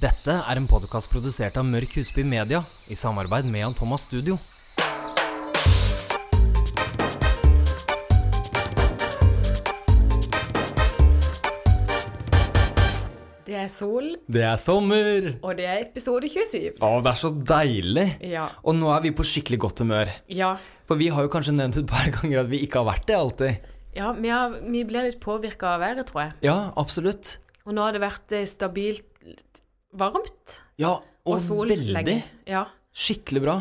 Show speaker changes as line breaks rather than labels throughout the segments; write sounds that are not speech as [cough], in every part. Dette er en podkast produsert av Mørk Husby Media i samarbeid med Jan Thomas Studio.
Det er sol,
Det er sommer!
og det er episode 27.
Å, det er så deilig!
Ja.
Og nå er vi på skikkelig godt humør.
Ja,
For vi har jo kanskje nevnt et par [laughs] ganger at vi ikke har vært det alltid.
ja vi, har, vi ble litt påvirka av været, tror jeg.
Ja, absolutt.
Og nå har det vært eh, stabilt varmt
Ja, og,
og, sol
veldig.
lenge. Ja.
Skikkelig bra.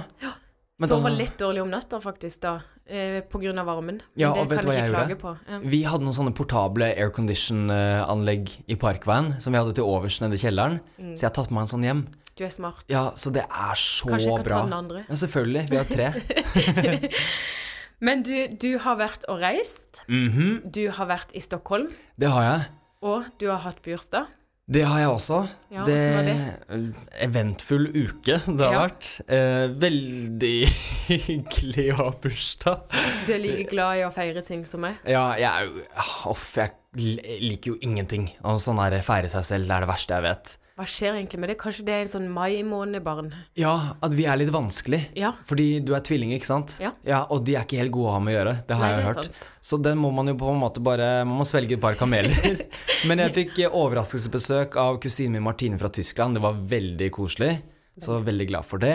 Men da-
Sover litt dårlig om natta, faktisk, da. Eh, på grunn av varmen. Men
Ja,
det
og vet du
kan
hva
ikke
jeg
klage på. Ja.
Vi hadde noen sånne portable aircondition-anlegg i Parkveien som vi hadde til overs nede i kjelleren.
Mm.
Så jeg har tatt med meg en sånn hjem.
Du er smart.
Ja, så det er så
Kanskje jeg kan ta
bra.
den andre?
Ja, selvfølgelig. Vi har tre.
[laughs] Men du, du har vært og reist.
Mhm.
Du har vært i Stockholm,
Det har jeg.
og du har hatt bursdag.
Det har jeg også.
Ja, hvordan var
Eventfull uke det har
Ja.
vært. Eh, veldig [laughs] hyggelig å ha bursdag.
Du er like glad i å feire ting som meg.
Ja, jeg er jo ah, Uff, jeg l- liker jo ingenting. Og sånn der feire seg selv, det er det verste jeg vet.
Hva skjer egentlig med det? Kanskje det er en sånn mai-måned-barn?
Ja, at vi er litt vanskelig.
Ja.
Fordi du er tvilling, ikke sant?
Ja.
Og de er ikke helt gode å ha med å gjøre. Det har
Nei,
jeg
det er
hørt.
sant.
Så den må man jo på en måte bare Man må svelge et par kameler.
[laughs]
Men jeg fikk eh, overraskelsesbesøk av kusinen min Martine fra Tyskland. Det var veldig koselig. Så veldig glad for det.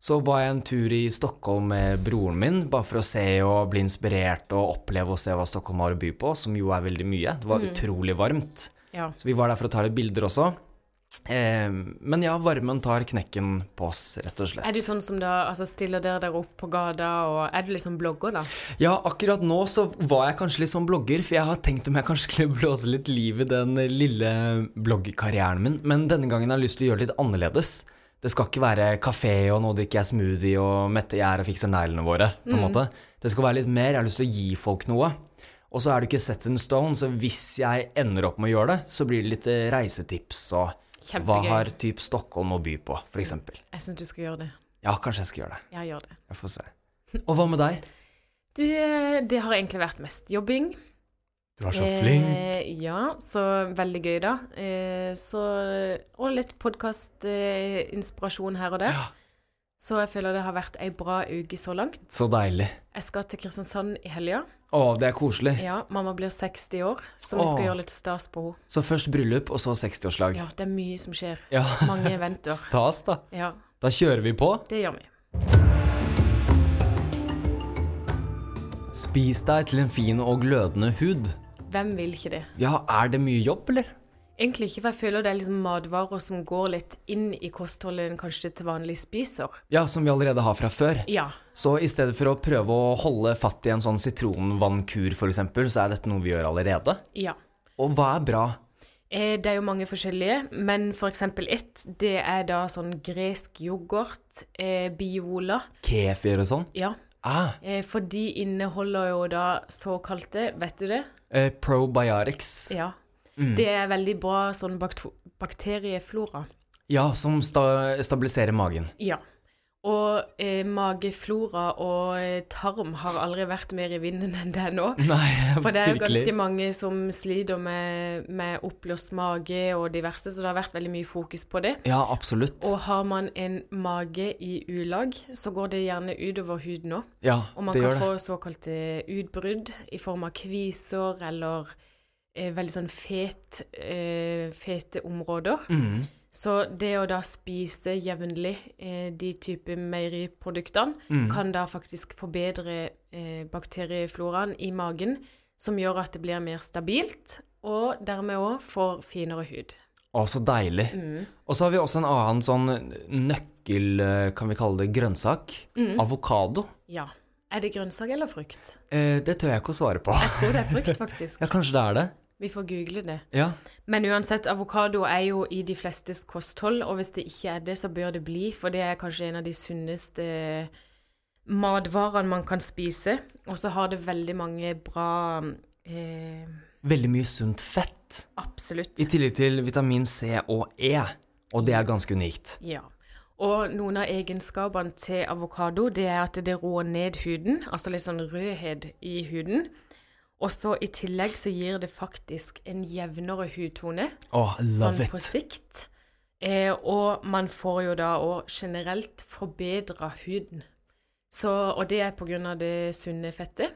Så var jeg en tur i Stockholm med broren min, bare for å se og bli inspirert og oppleve og se hva Stockholm har å by på, som jo er veldig mye. Det
Mm.
var utrolig varmt.
Ja.
Så vi var der for å ta litt bilder også. Eh, men ja, varmen tar knekken på oss, rett og slett.
Er du sånn som da altså stiller dere dere opp på gata, og er du liksom blogger, da?
Ja, akkurat nå så var jeg kanskje litt sånn blogger, for jeg har tenkt om jeg kanskje skulle blåse litt liv i den lille bloggkarrieren min, men denne gangen har jeg lyst til å gjøre det litt annerledes. Det skal ikke være kafé og nå drikker jeg smoothie og metter jeg er og fikser neglene våre, på en
Mm.
måte. Det skal være litt mer, jeg har lyst til å gi folk noe. Og så er det ikke set in stone, så hvis jeg ender opp med å gjøre det, så blir det litt eh, reisetips og hva
Kjempegøy.
har typ Stockholm å by på, for eksempel.
Jeg syns du skal gjøre det.
Ja, kanskje jeg skal gjøre det.
Jeg gjør det.
Jeg får se. Og hva med deg?
Du, eh, det har egentlig vært mest jobbing.
Du er
Eh, ja, så veldig gøy, da. Eh, så, og litt podkastinspirasjon eh, inspirasjon her og der. Så jeg føler det har vært ei bra uke så langt.
Så deilig.
Jeg skal til Kristiansand i helga.
Å, det er koselig.
Ja, mamma blir 60 år, så vi
Åh.
skal gjøre litt stas på henne.
Så først bryllup, og så 60-årslag.
Ja, det er mye som skjer.
Ja. [laughs]
Mange eventer.
Stas, da.
Ja,
Da kjører vi på.
det gjør vi.
Spis deg til en fin og glødende hud.
Hvem vil ikke det?
Ja, er det mye jobb, eller?
Egentlig ikke, for jeg føler det er liksom matvarer som går litt inn i kostholdet en kanskje til vanlig spiser.
Ja, som vi allerede har fra før.
Ja.
Så i stedet for å prøve å holde fatt i en sånn sitronvannkur, f.eks., så er dette noe vi gjør allerede.
ja.
Og hva er bra?
Eh, Det er jo mange forskjellige, men for eksempel ett, det er da sånn gresk yoghurt, eh, biola.
Kefir og sånn?
Ja.
Ah,
Eh, for de inneholder jo da såkalte, vet du det?
eh, probiotics.
Ja. Det er veldig bra sånn bakto- bakterieflora.
Ja, som sta stabiliserer magen.
Ja. Og eh, mageflora og eh, tarm har aldri vært mer i vinden enn det er nå.
Nei, [laughs]
For det er jo ganske
virkelig.
mange som sliter med, med oppblåst mage og diverse, så det har vært veldig mye fokus på det.
Ja, absolutt.
Og har man en mage i ulag, så går det gjerne utover huden òg.
Ja,
Og man
det
kan
gjør det.
få såkalte utbrudd i form av kviser eller eh, veldig sånn fet, eh, fete områder.
Mm.
Så det å da spise jevnlig eh, de type meieriproduktene kan da faktisk forbedre eh, bakteriefloraen i magen, som gjør at det blir mer stabilt, og dermed òg får finere hud.
Å, så deilig.
Mm.
Og så har vi også en annen sånn nøkkel, eh, kan vi kalle det, grønnsak.
Mm.
Avokado.
Ja. Er det grønnsak eller frukt?
Eh, det tør jeg ikke å svare
[laughs]
på.
Jeg tror det er frukt, faktisk.
Ja, kanskje det er det.
[laughs] Vi får google det.
Ja.
Men uansett, avokado er jo i de flestes kosthold, og hvis det ikke er det, så bør det bli, for det er kanskje en av de sunneste eh, matvarene man kan spise. Og så har det veldig mange bra eh,
Veldig mye sunt fett.
Absolutt.
I tillegg til vitamin C og E. Og det er ganske unikt.
Ja. Og noen av egenskapene til avokado, det er at det roer ned huden, altså litt sånn rødhet i huden. Og så i tillegg så gir det faktisk en jevnere hudtone.
Å, love
sånn på
it.
sikt. Eh, og man får jo da òg generelt forbedra huden. Så, og det er pga. det sunne fettet.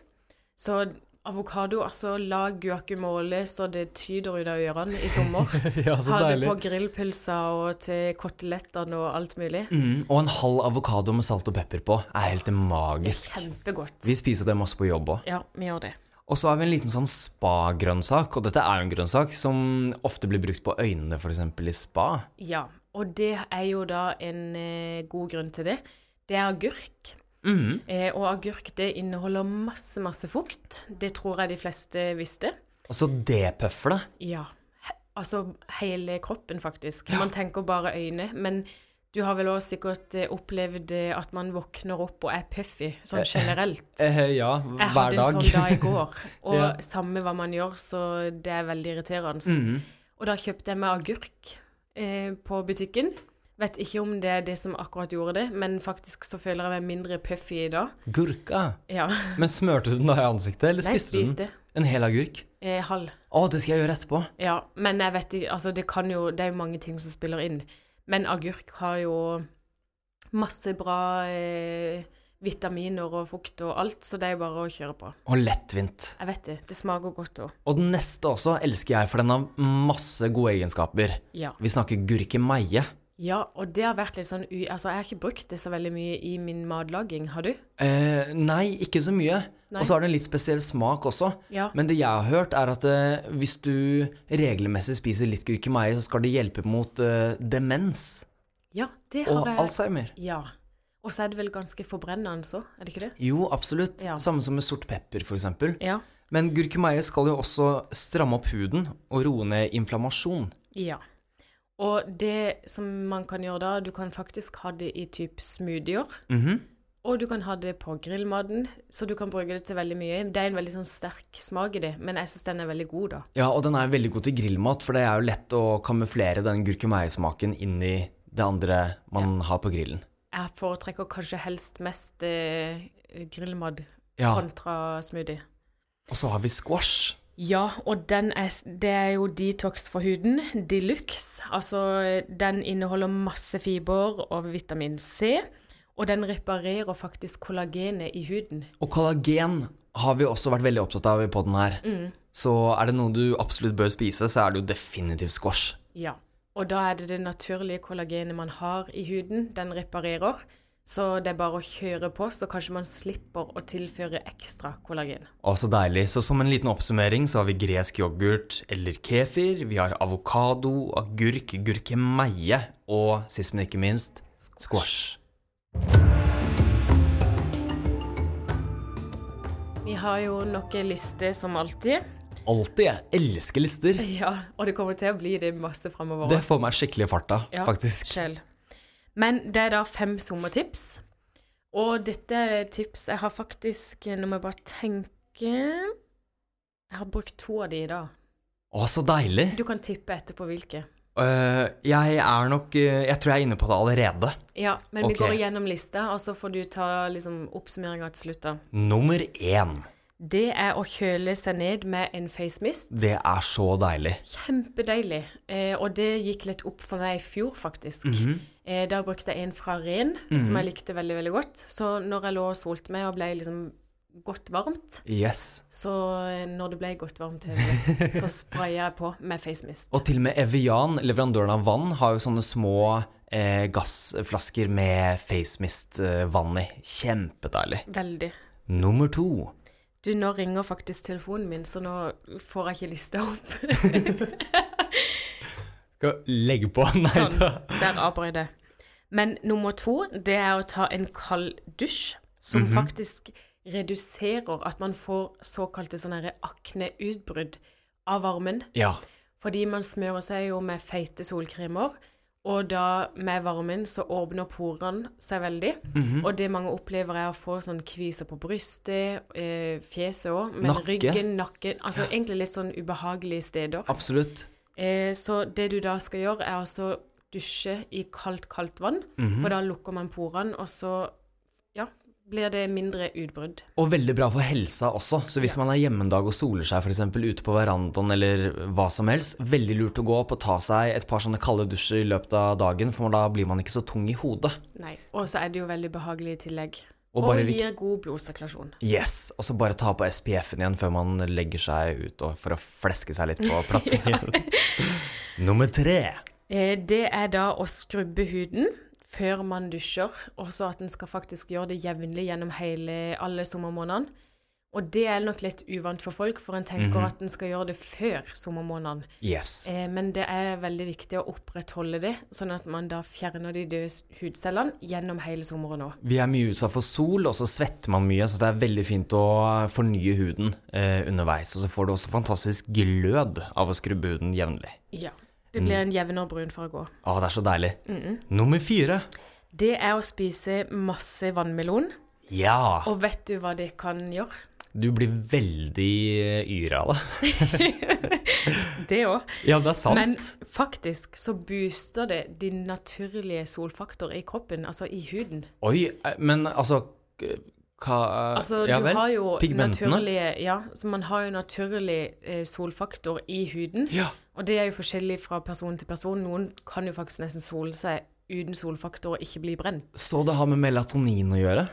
Så avokado, altså la guacamåle så det tyder ut av ørene i sommer.
[laughs] [laughs] ja, så
Ha det
deilig.
på grillpølser og til kotelettene og alt mulig.
Mm, og en halv avokado med salt og pepper på er helt magisk.
Kjempegodt.
Vi spiser jo det masse på jobb òg.
Ja, vi gjør det.
Og så har vi en liten sånn spagrønnsak, og dette er jo en grønnsak som ofte blir brukt på øynene, f.eks. i spa.
Ja, og det er jo da en eh, god grunn til det. Det er agurk.
Mhm.
Eh, og agurk det inneholder masse, masse fukt. Det tror jeg de fleste visste.
Og så D-pøfle.
Ja. He altså hele kroppen, faktisk. Man tenker bare øyne. Men du har vel òg sikkert eh, opplevd eh, at man våkner opp og er puffy, sånn
[laughs]
generelt.
Eh, ja,
Jeg
hver
hadde
dag.
en sånn
[laughs]
dag i går, og
Ja. Mm.
samme hva man gjør, så det er veldig irriterende. Og da kjøpte jeg meg agurk eh, på butikken. Vet ikke om det er det som akkurat gjorde det, men faktisk så føler jeg meg mindre puffy i dag.
Gurka.
Ja,
Men smørte du den da i ansiktet, eller
Nei, jeg
spiste du den?
spiste
En hel agurk?
eh, halv.
Å, det skal jeg gjøre etterpå.
Ja, men jeg vet ikke, altså det kan jo, det er jo mange ting som spiller inn. Men agurk har jo masse bra eh, vitaminer og fukt og alt, så det er jo bare å kjøre på.
Og lettvint.
Jeg vet det, det smaker godt også.
Og den neste også elsker jeg, for den har masse gode egenskaper.
Ja.
Vi snakker gurkemeie.
Ja, og det har vært litt sånn u... Altså, jeg har ikke brukt det så veldig mye i min matlaging, har du?
Eh, nei, ikke så mye.
Nei.
Og så har den en litt spesiell smak også.
Ja.
Men det jeg har hørt, er at eh, hvis du regelmessig spiser litt gurkemeie, så skal det hjelpe mot eh, demens
Ja, det har
og
jeg.
alzheimer.
altså- Ja. Og så er det vel ganske forbrennende så, er det ikke det?
Jo, absolutt.
Ja.
Samme som med sort pepper, f.eks.
Ja.
Men gurkemeie skal jo også stramme opp huden og roe ned inflammasjon.
Ja. Og det som man kan gjøre da, du kan faktisk ha det i typ smoothier,
Mhm.
og du kan ha det på grillmaten, så du kan bruke det til veldig mye. Det er en veldig sånn sterk smak i det, men jeg synes den er veldig god da.
Ja, og den er veldig god til grillmat, for det er jo lett å kamuflere den gurkemeiesmaken inn i det andre man har på grillen.
Jeg foretrekker kanskje helst mest eh, grillmat
Ja,
kontra smoothie.
Og så har vi squash.
Ja, og den er, det er jo detox for huden, deluxe. Altså, den inneholder masse fiber og vitamin C, og den reparerer faktisk kollagenet i huden.
Og kollagen har vi også vært veldig opptatt av i podden her. Så er det noe du absolutt bør spise, så er det jo definitivt squash.
Ja. Og da er det det naturlige kollagenet man har i huden, den reparerer. Så det er bare å kjøre på, så kanskje man slipper å tilføre ekstra kollagen.
Å, så deilig. Så som en liten oppsummering så har vi gresk yoghurt eller kefir, vi har avokado, agurk, gurkemeie og sist, men ikke minst, squash.
Vi har jo noen lister som alltid. [laughs]
Alltid. Jeg elsker lister.
Ja, og det kommer til å bli det masse framover.
Det får meg skikkelig i farta,
Ja.
faktisk.
selv. Men det er da fem sommertips. Og dette er tips jeg har faktisk eh, Nå må jeg bare tenke Jeg har brukt to av de i dag.
Å, så deilig.
Du kan tippe etterpå hvilke.
Eh, jeg er nok eh, Jeg tror jeg er inne på det allerede.
Ja, men
Ok.
vi går igjennom lista, og så får du ta liksom, oppsummeringa til slutt. da.
Nummer én.
Det er å kjøle seg ned med en face mist.
Det er så deilig.
Kjempedeilig. Eh, og det gikk litt opp for meg i fjor, faktisk. eh, da brukte jeg en fra Ren, som jeg likte veldig veldig godt. Så når jeg lå og solte meg og ble liksom godt varmt,
Yes.
Så eh, når det ble godt varmt hele, så spraya jeg på med face mist.
Og til og med Evian, leverandøren av vann, har jo sånne små eh, gassflasker med facemist-vann i. Kjempedeilig.
Veldig.
Nummer to.
Du, nå ringer faktisk telefonen min, så nå får jeg ikke lista opp.
Skal legge på? [laughs] Nei
Sånn.
da.
Der avbrøt jeg. Men nummer to, det er å ta en kald dusj, som
Mhm.
faktisk reduserer at man får såkalte sånne her akneutbrudd av varmen.
Ja.
Fordi man smører seg jo med feite solkremer, og da med varmen så åpner porene seg veldig.
Mhm.
Og det mange opplever er å få sånn kviser på brystet, eh, fjeset òg, men
Nakke.
ryggen, nakken Altså egentlig litt sånn ubehagelige steder.
Absolutt.
Eh, så det du da skal gjøre, er altså
Mhm.
dusje i kaldt, kaldt vann, for da lukker man porene, og så ja, blir det mindre utbrudd.
Og veldig bra for helsa også. Så hvis man er hjemme en dag og soler seg f.eks. ute på verandaen eller hva som helst, veldig lurt å gå opp og ta seg et par sånne kalde dusjer i løpet av dagen, for da blir man ikke så tung i hodet.
Nei. Og så er det jo veldig behagelig i tillegg.
Og
Og,
bare vikt-
gir god blodsirkulasjon.
Yes, og så bare ta på SPF-en igjen før man legger seg ut og for å fleske seg litt
[laughs]
på plattingen. Nummer tre.
Eh, Det er da å skrubbe huden før man dusjer, og så at en skal faktisk gjøre det jevnlig gjennom hele, alle sommermånedene. Og det er nok litt uvant for folk, for en tenker
Mhm.
at en skal gjøre det før sommermånedene.
Yes.
Eh, Men det er veldig viktig å opprettholde det, sånn at man da fjerner de døde s- hudcellene gjennom hele sommeren òg.
Vi er mye utsatt for sol, og så svetter man mye, så det er veldig fint å fornye huden eh, underveis. Og så får du også fantastisk glød av å skrubbe huden jevnlig.
Ja. Det
Mm.
blir en jevnere brunfarge òg.
Å, det er så deilig. Nummer fire.
Det er å spise masse vannmelon.
Ja,
Og vet du hva det kan gjøre?
du blir veldig eh, yr av det. [laughs]
Det òg.
Ja, det er sant.
Men faktisk så booster det din naturlige solfaktor i kroppen, altså i huden.
Oi, eh, men altså k- Hva
Altså,
Ja
du
vel.
har jo
Pigmentene.
naturlige Ja, så man har jo naturlig eh, solfaktor i huden.
Ja.
Og det er jo forskjellig fra person til person. Noen kan jo faktisk nesten sole seg uten solfaktor og ikke bli brent.
Så det har med melatonin å gjøre?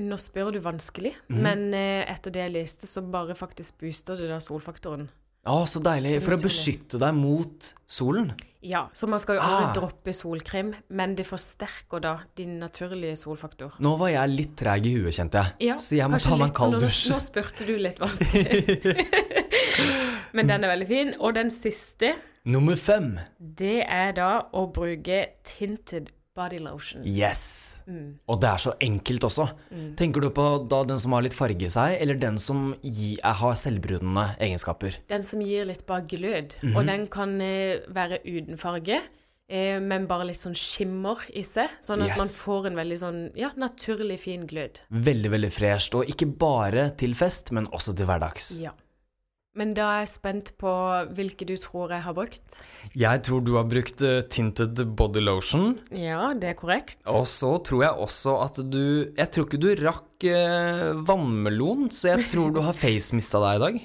Nå spør du vanskelig, men eh, etter det jeg leste, så bare faktisk booster det da solfaktoren.
Å, så deilig. For å beskytte deg mot solen.
Ja, så man skal jo aldri
Ah.
droppe solkrem, men det forsterker da din naturlige solfaktor.
Nå var jeg litt treig i huet, kjente jeg.
Ja,
så jeg må
kanskje
ta meg en
litt, sånn så
kald
nå-
dusj.
Nå, nå spurte du litt vanskelig.
[laughs]
Men den er veldig fin. Og den siste,
Nummer fem.
det er da å bruke tinted body lotion.
Yes.
Mm.
Og det er så enkelt også. Tenker du på da den som har litt farge i seg, eller den som gi, er, har selvbrunende egenskaper?
Den som gir litt bare glød. Og den kan eh, være uten farge, eh, men bare litt sånn skimmer i seg. Sånn at
Yes.
man får en veldig sånn, ja, naturlig fin glød.
Veldig, veldig fresht. Og ikke bare til fest, men også til hverdags.
Ja. Men da er jeg spent på hvilke du tror jeg har brukt.
Jeg tror du har brukt eh, tinted body lotion.
Ja, det er korrekt.
Og så tror jeg også at du Jeg tror ikke du rakk eh, vannmelon, så jeg tror du har facemista deg i dag.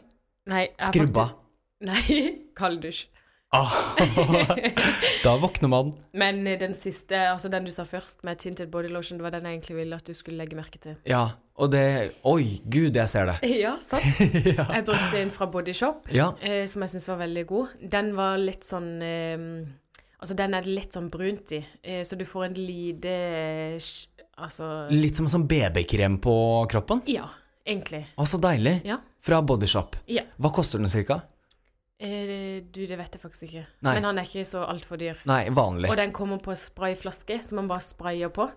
Nei, jeg har
Skrubba.
faktisk- [laughs] Nei, kalddusj.
Da våkner man.
Men eh, den siste, altså den du sa først med tinted body lotion, det var den jeg egentlig ville at du skulle legge merke til.
Ja, og det Oi, gud, jeg ser det.
[laughs] Ja, sant? Jeg brukte en fra Bodyshop,
Ja.
eh, som jeg syns var veldig god. Den var litt sånn eh, Altså, den er litt sånn brunt i, eh, så du får en lite eh, sj- Altså
Litt som en sånn BB-krem på kroppen.
Ja, egentlig.
Å, så deilig.
Ja.
Fra Bodyshop.
ja.
Hva koster den cirka?
Eh, du, det vet jeg faktisk ikke.
Nei.
Men han er ikke så altfor dyr.
Nei, vanlig.
Og den kommer på sprayflaske, som man bare sprayer på.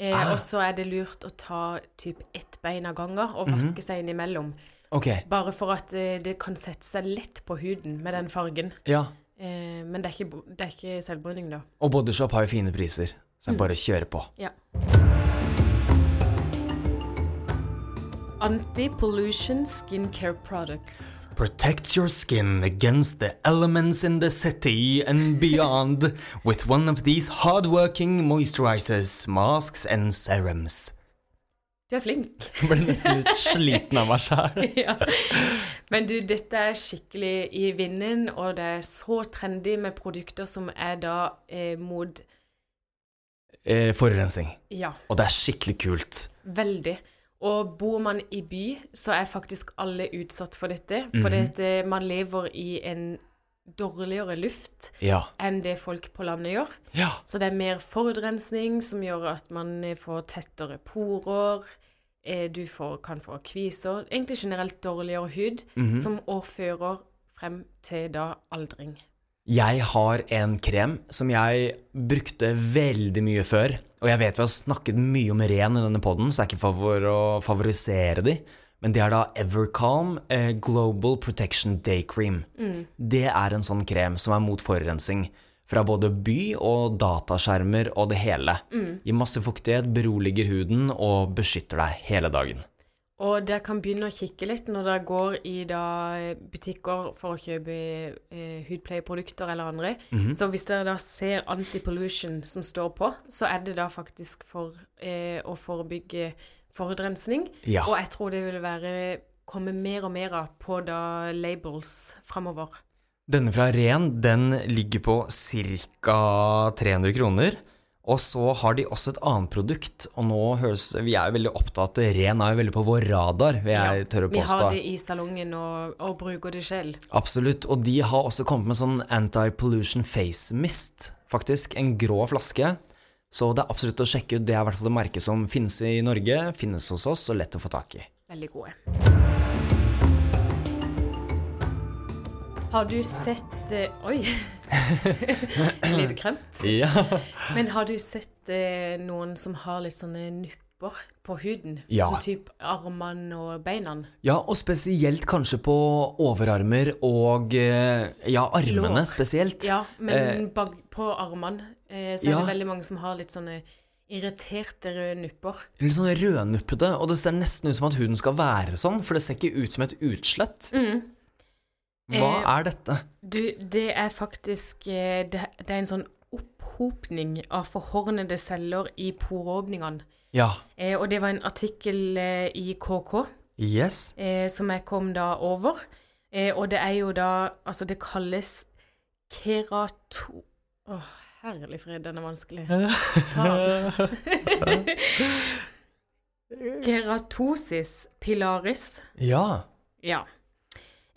Eh,
Ah.
Og så er det lurt å ta typ ett bein av gangen
Mhm.
og vaske seg innimellom.
Ok.
Bare for at eh, det kan sette seg lett på huden med den fargen.
Ja.
Eh, men det er, ikke, bo- det er ikke selvbruning, da.
Og Bodyshop har jo fine priser,
Mm.
så jeg bare kjører på.
Ja. Anti-pollution skincare products.
Protect your skin against the elements in the city and beyond with one of these hardworking moisturizers, masks and serums.
Du er flink.
Jeg ble nesten litt sliten av meg sjæl.
[laughs] ja. Men du, dette er skikkelig i vinden, og det er så trendy med produkter som er da eh, mot
Eh, forurensning.
Ja,
Og det er skikkelig kult.
veldig. Og bor man i by, så er faktisk alle utsatt for dette. For dette, man lever i en dårligere luft
Ja.
enn det folk på landet gjør.
Ja.
Så det er mer forurensning som gjør at man eh, får tettere porer. eh, Du får, kan få kviser. Egentlig generelt dårligere hud, som også fører frem til da aldring.
Jeg har en krem som jeg brukte veldig mye før, og jeg vet vi har snakket mye om ren i denne podden, så det er ikke for å favorisere de, men det er da Evercalm eh, Global Protection Day Cream. Det er en sånn krem som er mot forurensning fra både by og dataskjermer og det hele. Gir masse fuktighet, beroliger huden og beskytter deg hele dagen.
Og dere kan begynne å kikke litt når dere går i da eh, butikker for å kjøpe eh, hudpleieprodukter eller andre.
Mhm.
Så hvis dere da ser anti-pollution som står på, så er det da faktisk for eh, å forebygge forurensning.
Ja.
Og jeg tror det vil være, komme mer og mer av på da labels framover.
Denne fra Ren den ligger på ca. 300 kroner. Og så har de også et annet produkt. Og nå høres, Vi er jo veldig opptatt Ren er jo veldig på vår radar, vil jeg tørre å
Vi har
påstå.
det i salongen og, og bruker det selv.
Absolutt. Og de har også kommet med sånn anti-pollution face mist, faktisk. En grå flaske. Så det er absolutt å sjekke ut. Det er i hvert fall et merke som finnes i Norge, finnes hos oss og lett å få tak i.
Veldig gode. Har du sett eh,
[laughs]
Oi! Litt kremt.
Ja.
Men har du sett eh, noen som har litt sånne nupper på huden?
Ja.
Som type armene og beina?
ja, og spesielt kanskje på overarmer og eh, ja, armene
Lår.
spesielt.
Ja, men bak, på armene eh, så er
Eh. ja.
det veldig mange som har litt sånne irriterte røde nupper.
Litt sånn rødnuppete, og det ser nesten ut som at huden skal være sånn, for det ser ikke ut som et utslett. Hva
Eh,
er dette?
Du, det er faktisk eh, Det, det er en sånn opphopning av forhornede celler i poråpningene.
Ja.
Eh, og det var en artikkel eh, i KK
Yes.
eh, som jeg kom da over. Eh, og det er jo da Altså, det kalles kerato... Å, herlig fred, den er vanskelig. Tal. [laughs] Keratosis pilaris.
Ja.
Ja.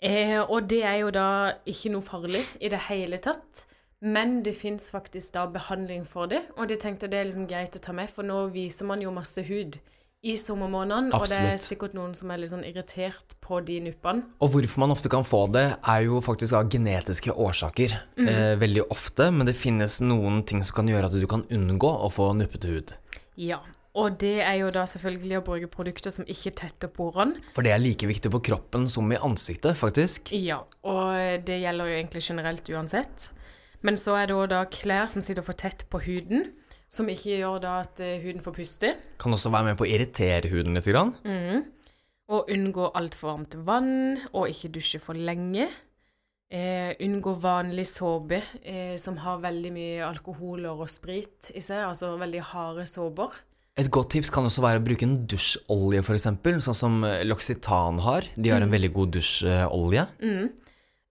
Eh, og det er jo da ikke noe farlig i det hele tatt. Men det fins faktisk da behandling for det, og det tenkte jeg det er liksom greit å ta med, for nå viser man jo masse hud i sommermånedene, og det er
Absolutt.
sikkert noen som er litt sånn irritert på de nuppene.
Og hvorfor man ofte kan få det, er jo faktisk av genetiske årsaker. Eh, veldig ofte, men det finnes noen ting som kan gjøre at du kan unngå å få nuppete hud.
Ja. Og det er jo da selvfølgelig å bruke produkter som ikke tetter porene.
For det er like viktig på kroppen som i ansiktet, faktisk.
Ja, og det gjelder jo egentlig generelt uansett. Men så er det òg da klær som sitter for tett på huden, som ikke gjør da at eh, huden får puste.
Kan også være med på å irritere huden litt. Grann.
Og unngå altfor varmt vann, og ikke dusje for lenge. Eh, unngå vanlig såpe eh, som har veldig mye alkoholer og sprit i seg, altså veldig harde såper.
Et godt tips kan også være å bruke en dusjolje, f.eks. Sånn som eh, L'Occitane har. De har en veldig god dusjolje.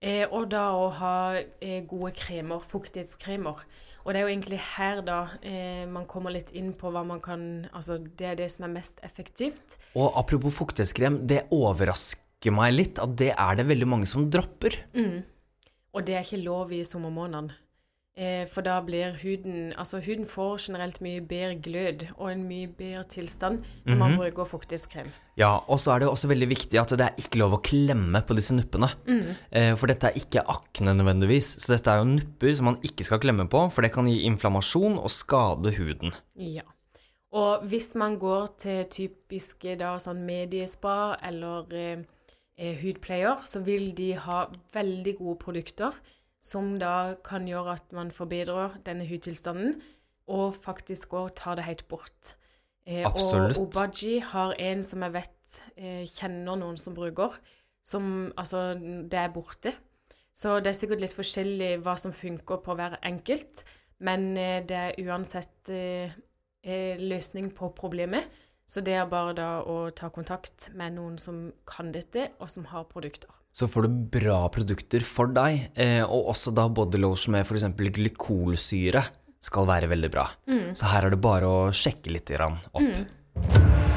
Eh, og da å ha eh, gode kremer, fuktighetskremer. Og det er jo egentlig her da eh, man kommer litt inn på hva man kan Altså det er det som er mest effektivt.
Og apropos fuktighetskrem, det overrasker meg litt at det er det veldig mange som dropper.
Og det er ikke lov i sommermånedene. Eh, for da blir huden Altså, huden får generelt mye bedre glød og en mye bedre tilstand når man bruker fuktighetskrem.
Ja, og så er det jo også veldig viktig at det er ikke lov å klemme på disse nuppene. Eh, for dette er ikke akne nødvendigvis, så dette er jo nupper som man ikke skal klemme på, for det kan gi inflammasjon og skade huden.
Ja. Og hvis man går til typiske da sånn mediespa eller eh, eh, hudpleier, så vil de ha veldig gode produkter som da kan gjøre at man forbedrer denne hudtilstanden, og faktisk òg tar det helt bort. Eh,
Absolutt.
Og Obaji har en som jeg vet eh, kjenner noen som bruker, som altså det er borte. Så det er sikkert litt forskjellig hva som funker på hver enkelt, men eh, det er uansett eh, eh, løsning på problemet. Så det er bare da å ta kontakt med noen som kan dette, og som har produkter.
Så får du bra produkter for deg, eh, og også da bodylotion med f.eks. glykolsyre skal være veldig bra.
Mm.
Så her er det bare å sjekke litt grann opp.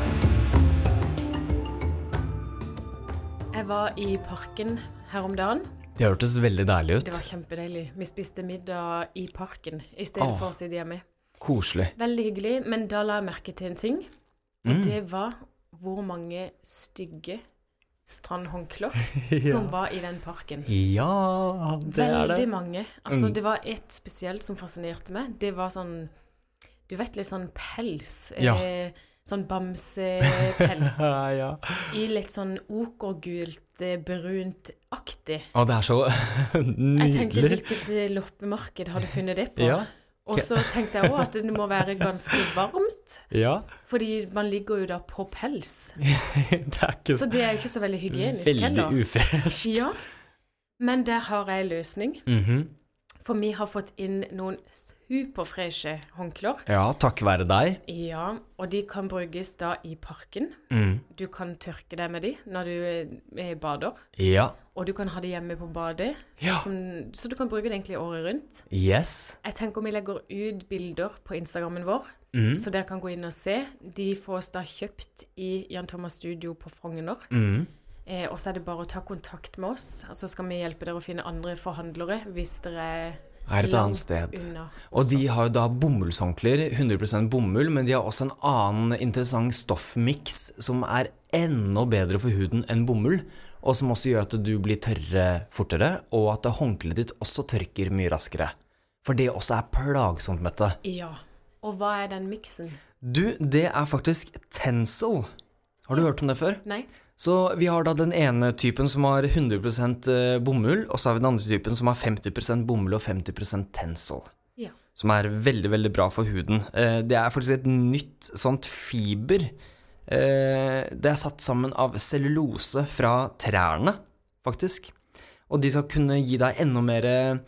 Jeg var i parken her om dagen.
Det hørtes veldig deilig ut.
Det var kjempedeilig. Vi spiste middag i parken i stedet
Åh.
for å sitte hjemme.
Koselig.
Veldig hyggelig, men da la jeg merke til en ting. Og det var hvor mange stygge strandhåndklær [laughs]
[laughs]
som var i den parken.
Ja, det er det. Mm.
Veldig mange. Altså, Det var et spesielt som fascinerte meg. Det var sånn Du vet, litt sånn pels.
Ja.
Eh, sånn bamsepels.
[laughs] ja.
I litt sånn okergult, eh, brunt-aktig.
Å, det er så [laughs]
Jeg tenkte
nydelig.
hvilket eh, loppemarked har du funnet det på?
Ja.
Og så tenkte jeg òg at det må være ganske varmt,
Ja, [laughs]
fordi man ligger jo da på pels.
det er ikke
Så det er jo ikke så veldig hygienisk heller.
Veldig ufresh.
Ja.
Mhm.
Men der har jeg en løsning. For vi har fått inn noen superfreshe håndklær.
Ja, takk være deg.
Ja, og de kan brukes da i parken.
Mm.
Du kan tørke deg med de når du eh, bader.
Ja.
Og du kan ha det hjemme på badet,
Ja.
som, så du kan bruke det egentlig året rundt.
Yes.
Jeg tenker om vi legger ut bilder på Instagrammen vår,
Mhm.
så dere kan gå inn og se. De fås da kjøpt i Jan Thomas Studio på Frogner.
Mhm.
Eh, og så er det bare å ta kontakt med oss, og så skal vi hjelpe dere å finne andre forhandlere hvis dere
Er et annet
langt
sted.
unna.
Og de har jo da bomullshåndklær, 100 bomull, men de har også en annen interessant stoffmiks som er enda bedre for huden enn bomull, og som også gjør at du blir tørrere fortere, og at håndkleet ditt også tørker mye raskere. For det også er plagsomt, Mette.
Ja. Og hva er den miksen?
Du, det er faktisk Tencel. Har du hørt om det før?
Nei?
Så vi har da den ene typen som har 100 bomull, og så har vi den andre typen som har 50 bomull og 50 Tencel.
Ja.
Som er veldig, veldig bra for huden. Eh, Det er faktisk et nytt sånt fiber. Eh, Det er satt sammen av cellulose fra trærne, faktisk. Og de skal kunne gi deg enda mer eh,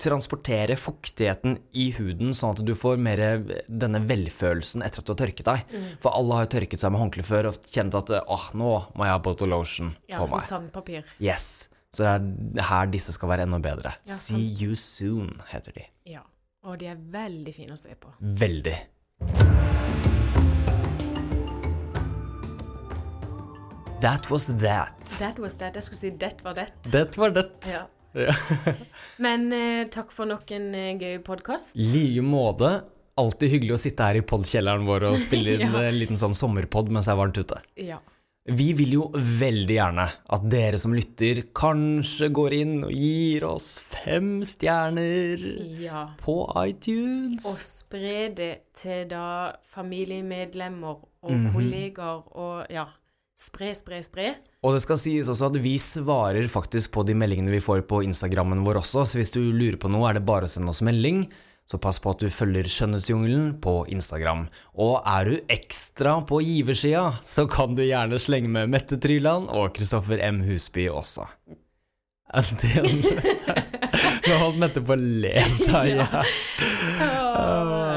Transportere fuktigheten i huden, sånn at du får mer denne velfølelsen etter at du har tørket deg.
Mm.
For alle har jo tørket seg med håndkle før og kjent at eh, åh, nå må jeg ha bottle lotion
Ja,
på
som
meg.
sandpapir.
Yes. Så det er her disse skal være enda bedre.
Ja,
See you soon, heter de.
Ja. Og de er veldig fine å se på.
Veldig. That was that.
That was that. Jeg skulle si 'that var that'.
Det var det.
Ja.
Ja.
[laughs] Men eh, takk for nok en eh, gøy podkast.
I like måte. Alltid hyggelig å sitte her i podkjelleren vår og
[laughs]
spille inn
Ja.
en liten sånn sommerpod mens det er varmt ute.
Ja.
Vi vil jo veldig gjerne at dere som lytter, kanskje går inn og gir oss fem stjerner
ja.
på iTunes.
Og spre det til da familiemedlemmer og kollegaer og ja. Spre, spre, spre.
Og det skal sies også at vi svarer faktisk på de meldingene vi får på Instagrammen vår også, så hvis du lurer på noe, er det bare å sende oss melding. Så pass på at du følger Skjønnhetsjungelen på Instagram. Og er du ekstra på giversida, så kan du gjerne slenge med Mette Tryland og Kristoffer M. Husby også. Det- Nå holdt Mette på å le seg i hjel.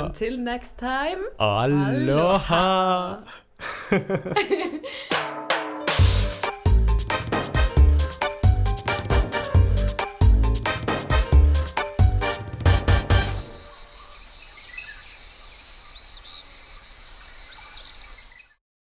Until next time.
Aloha!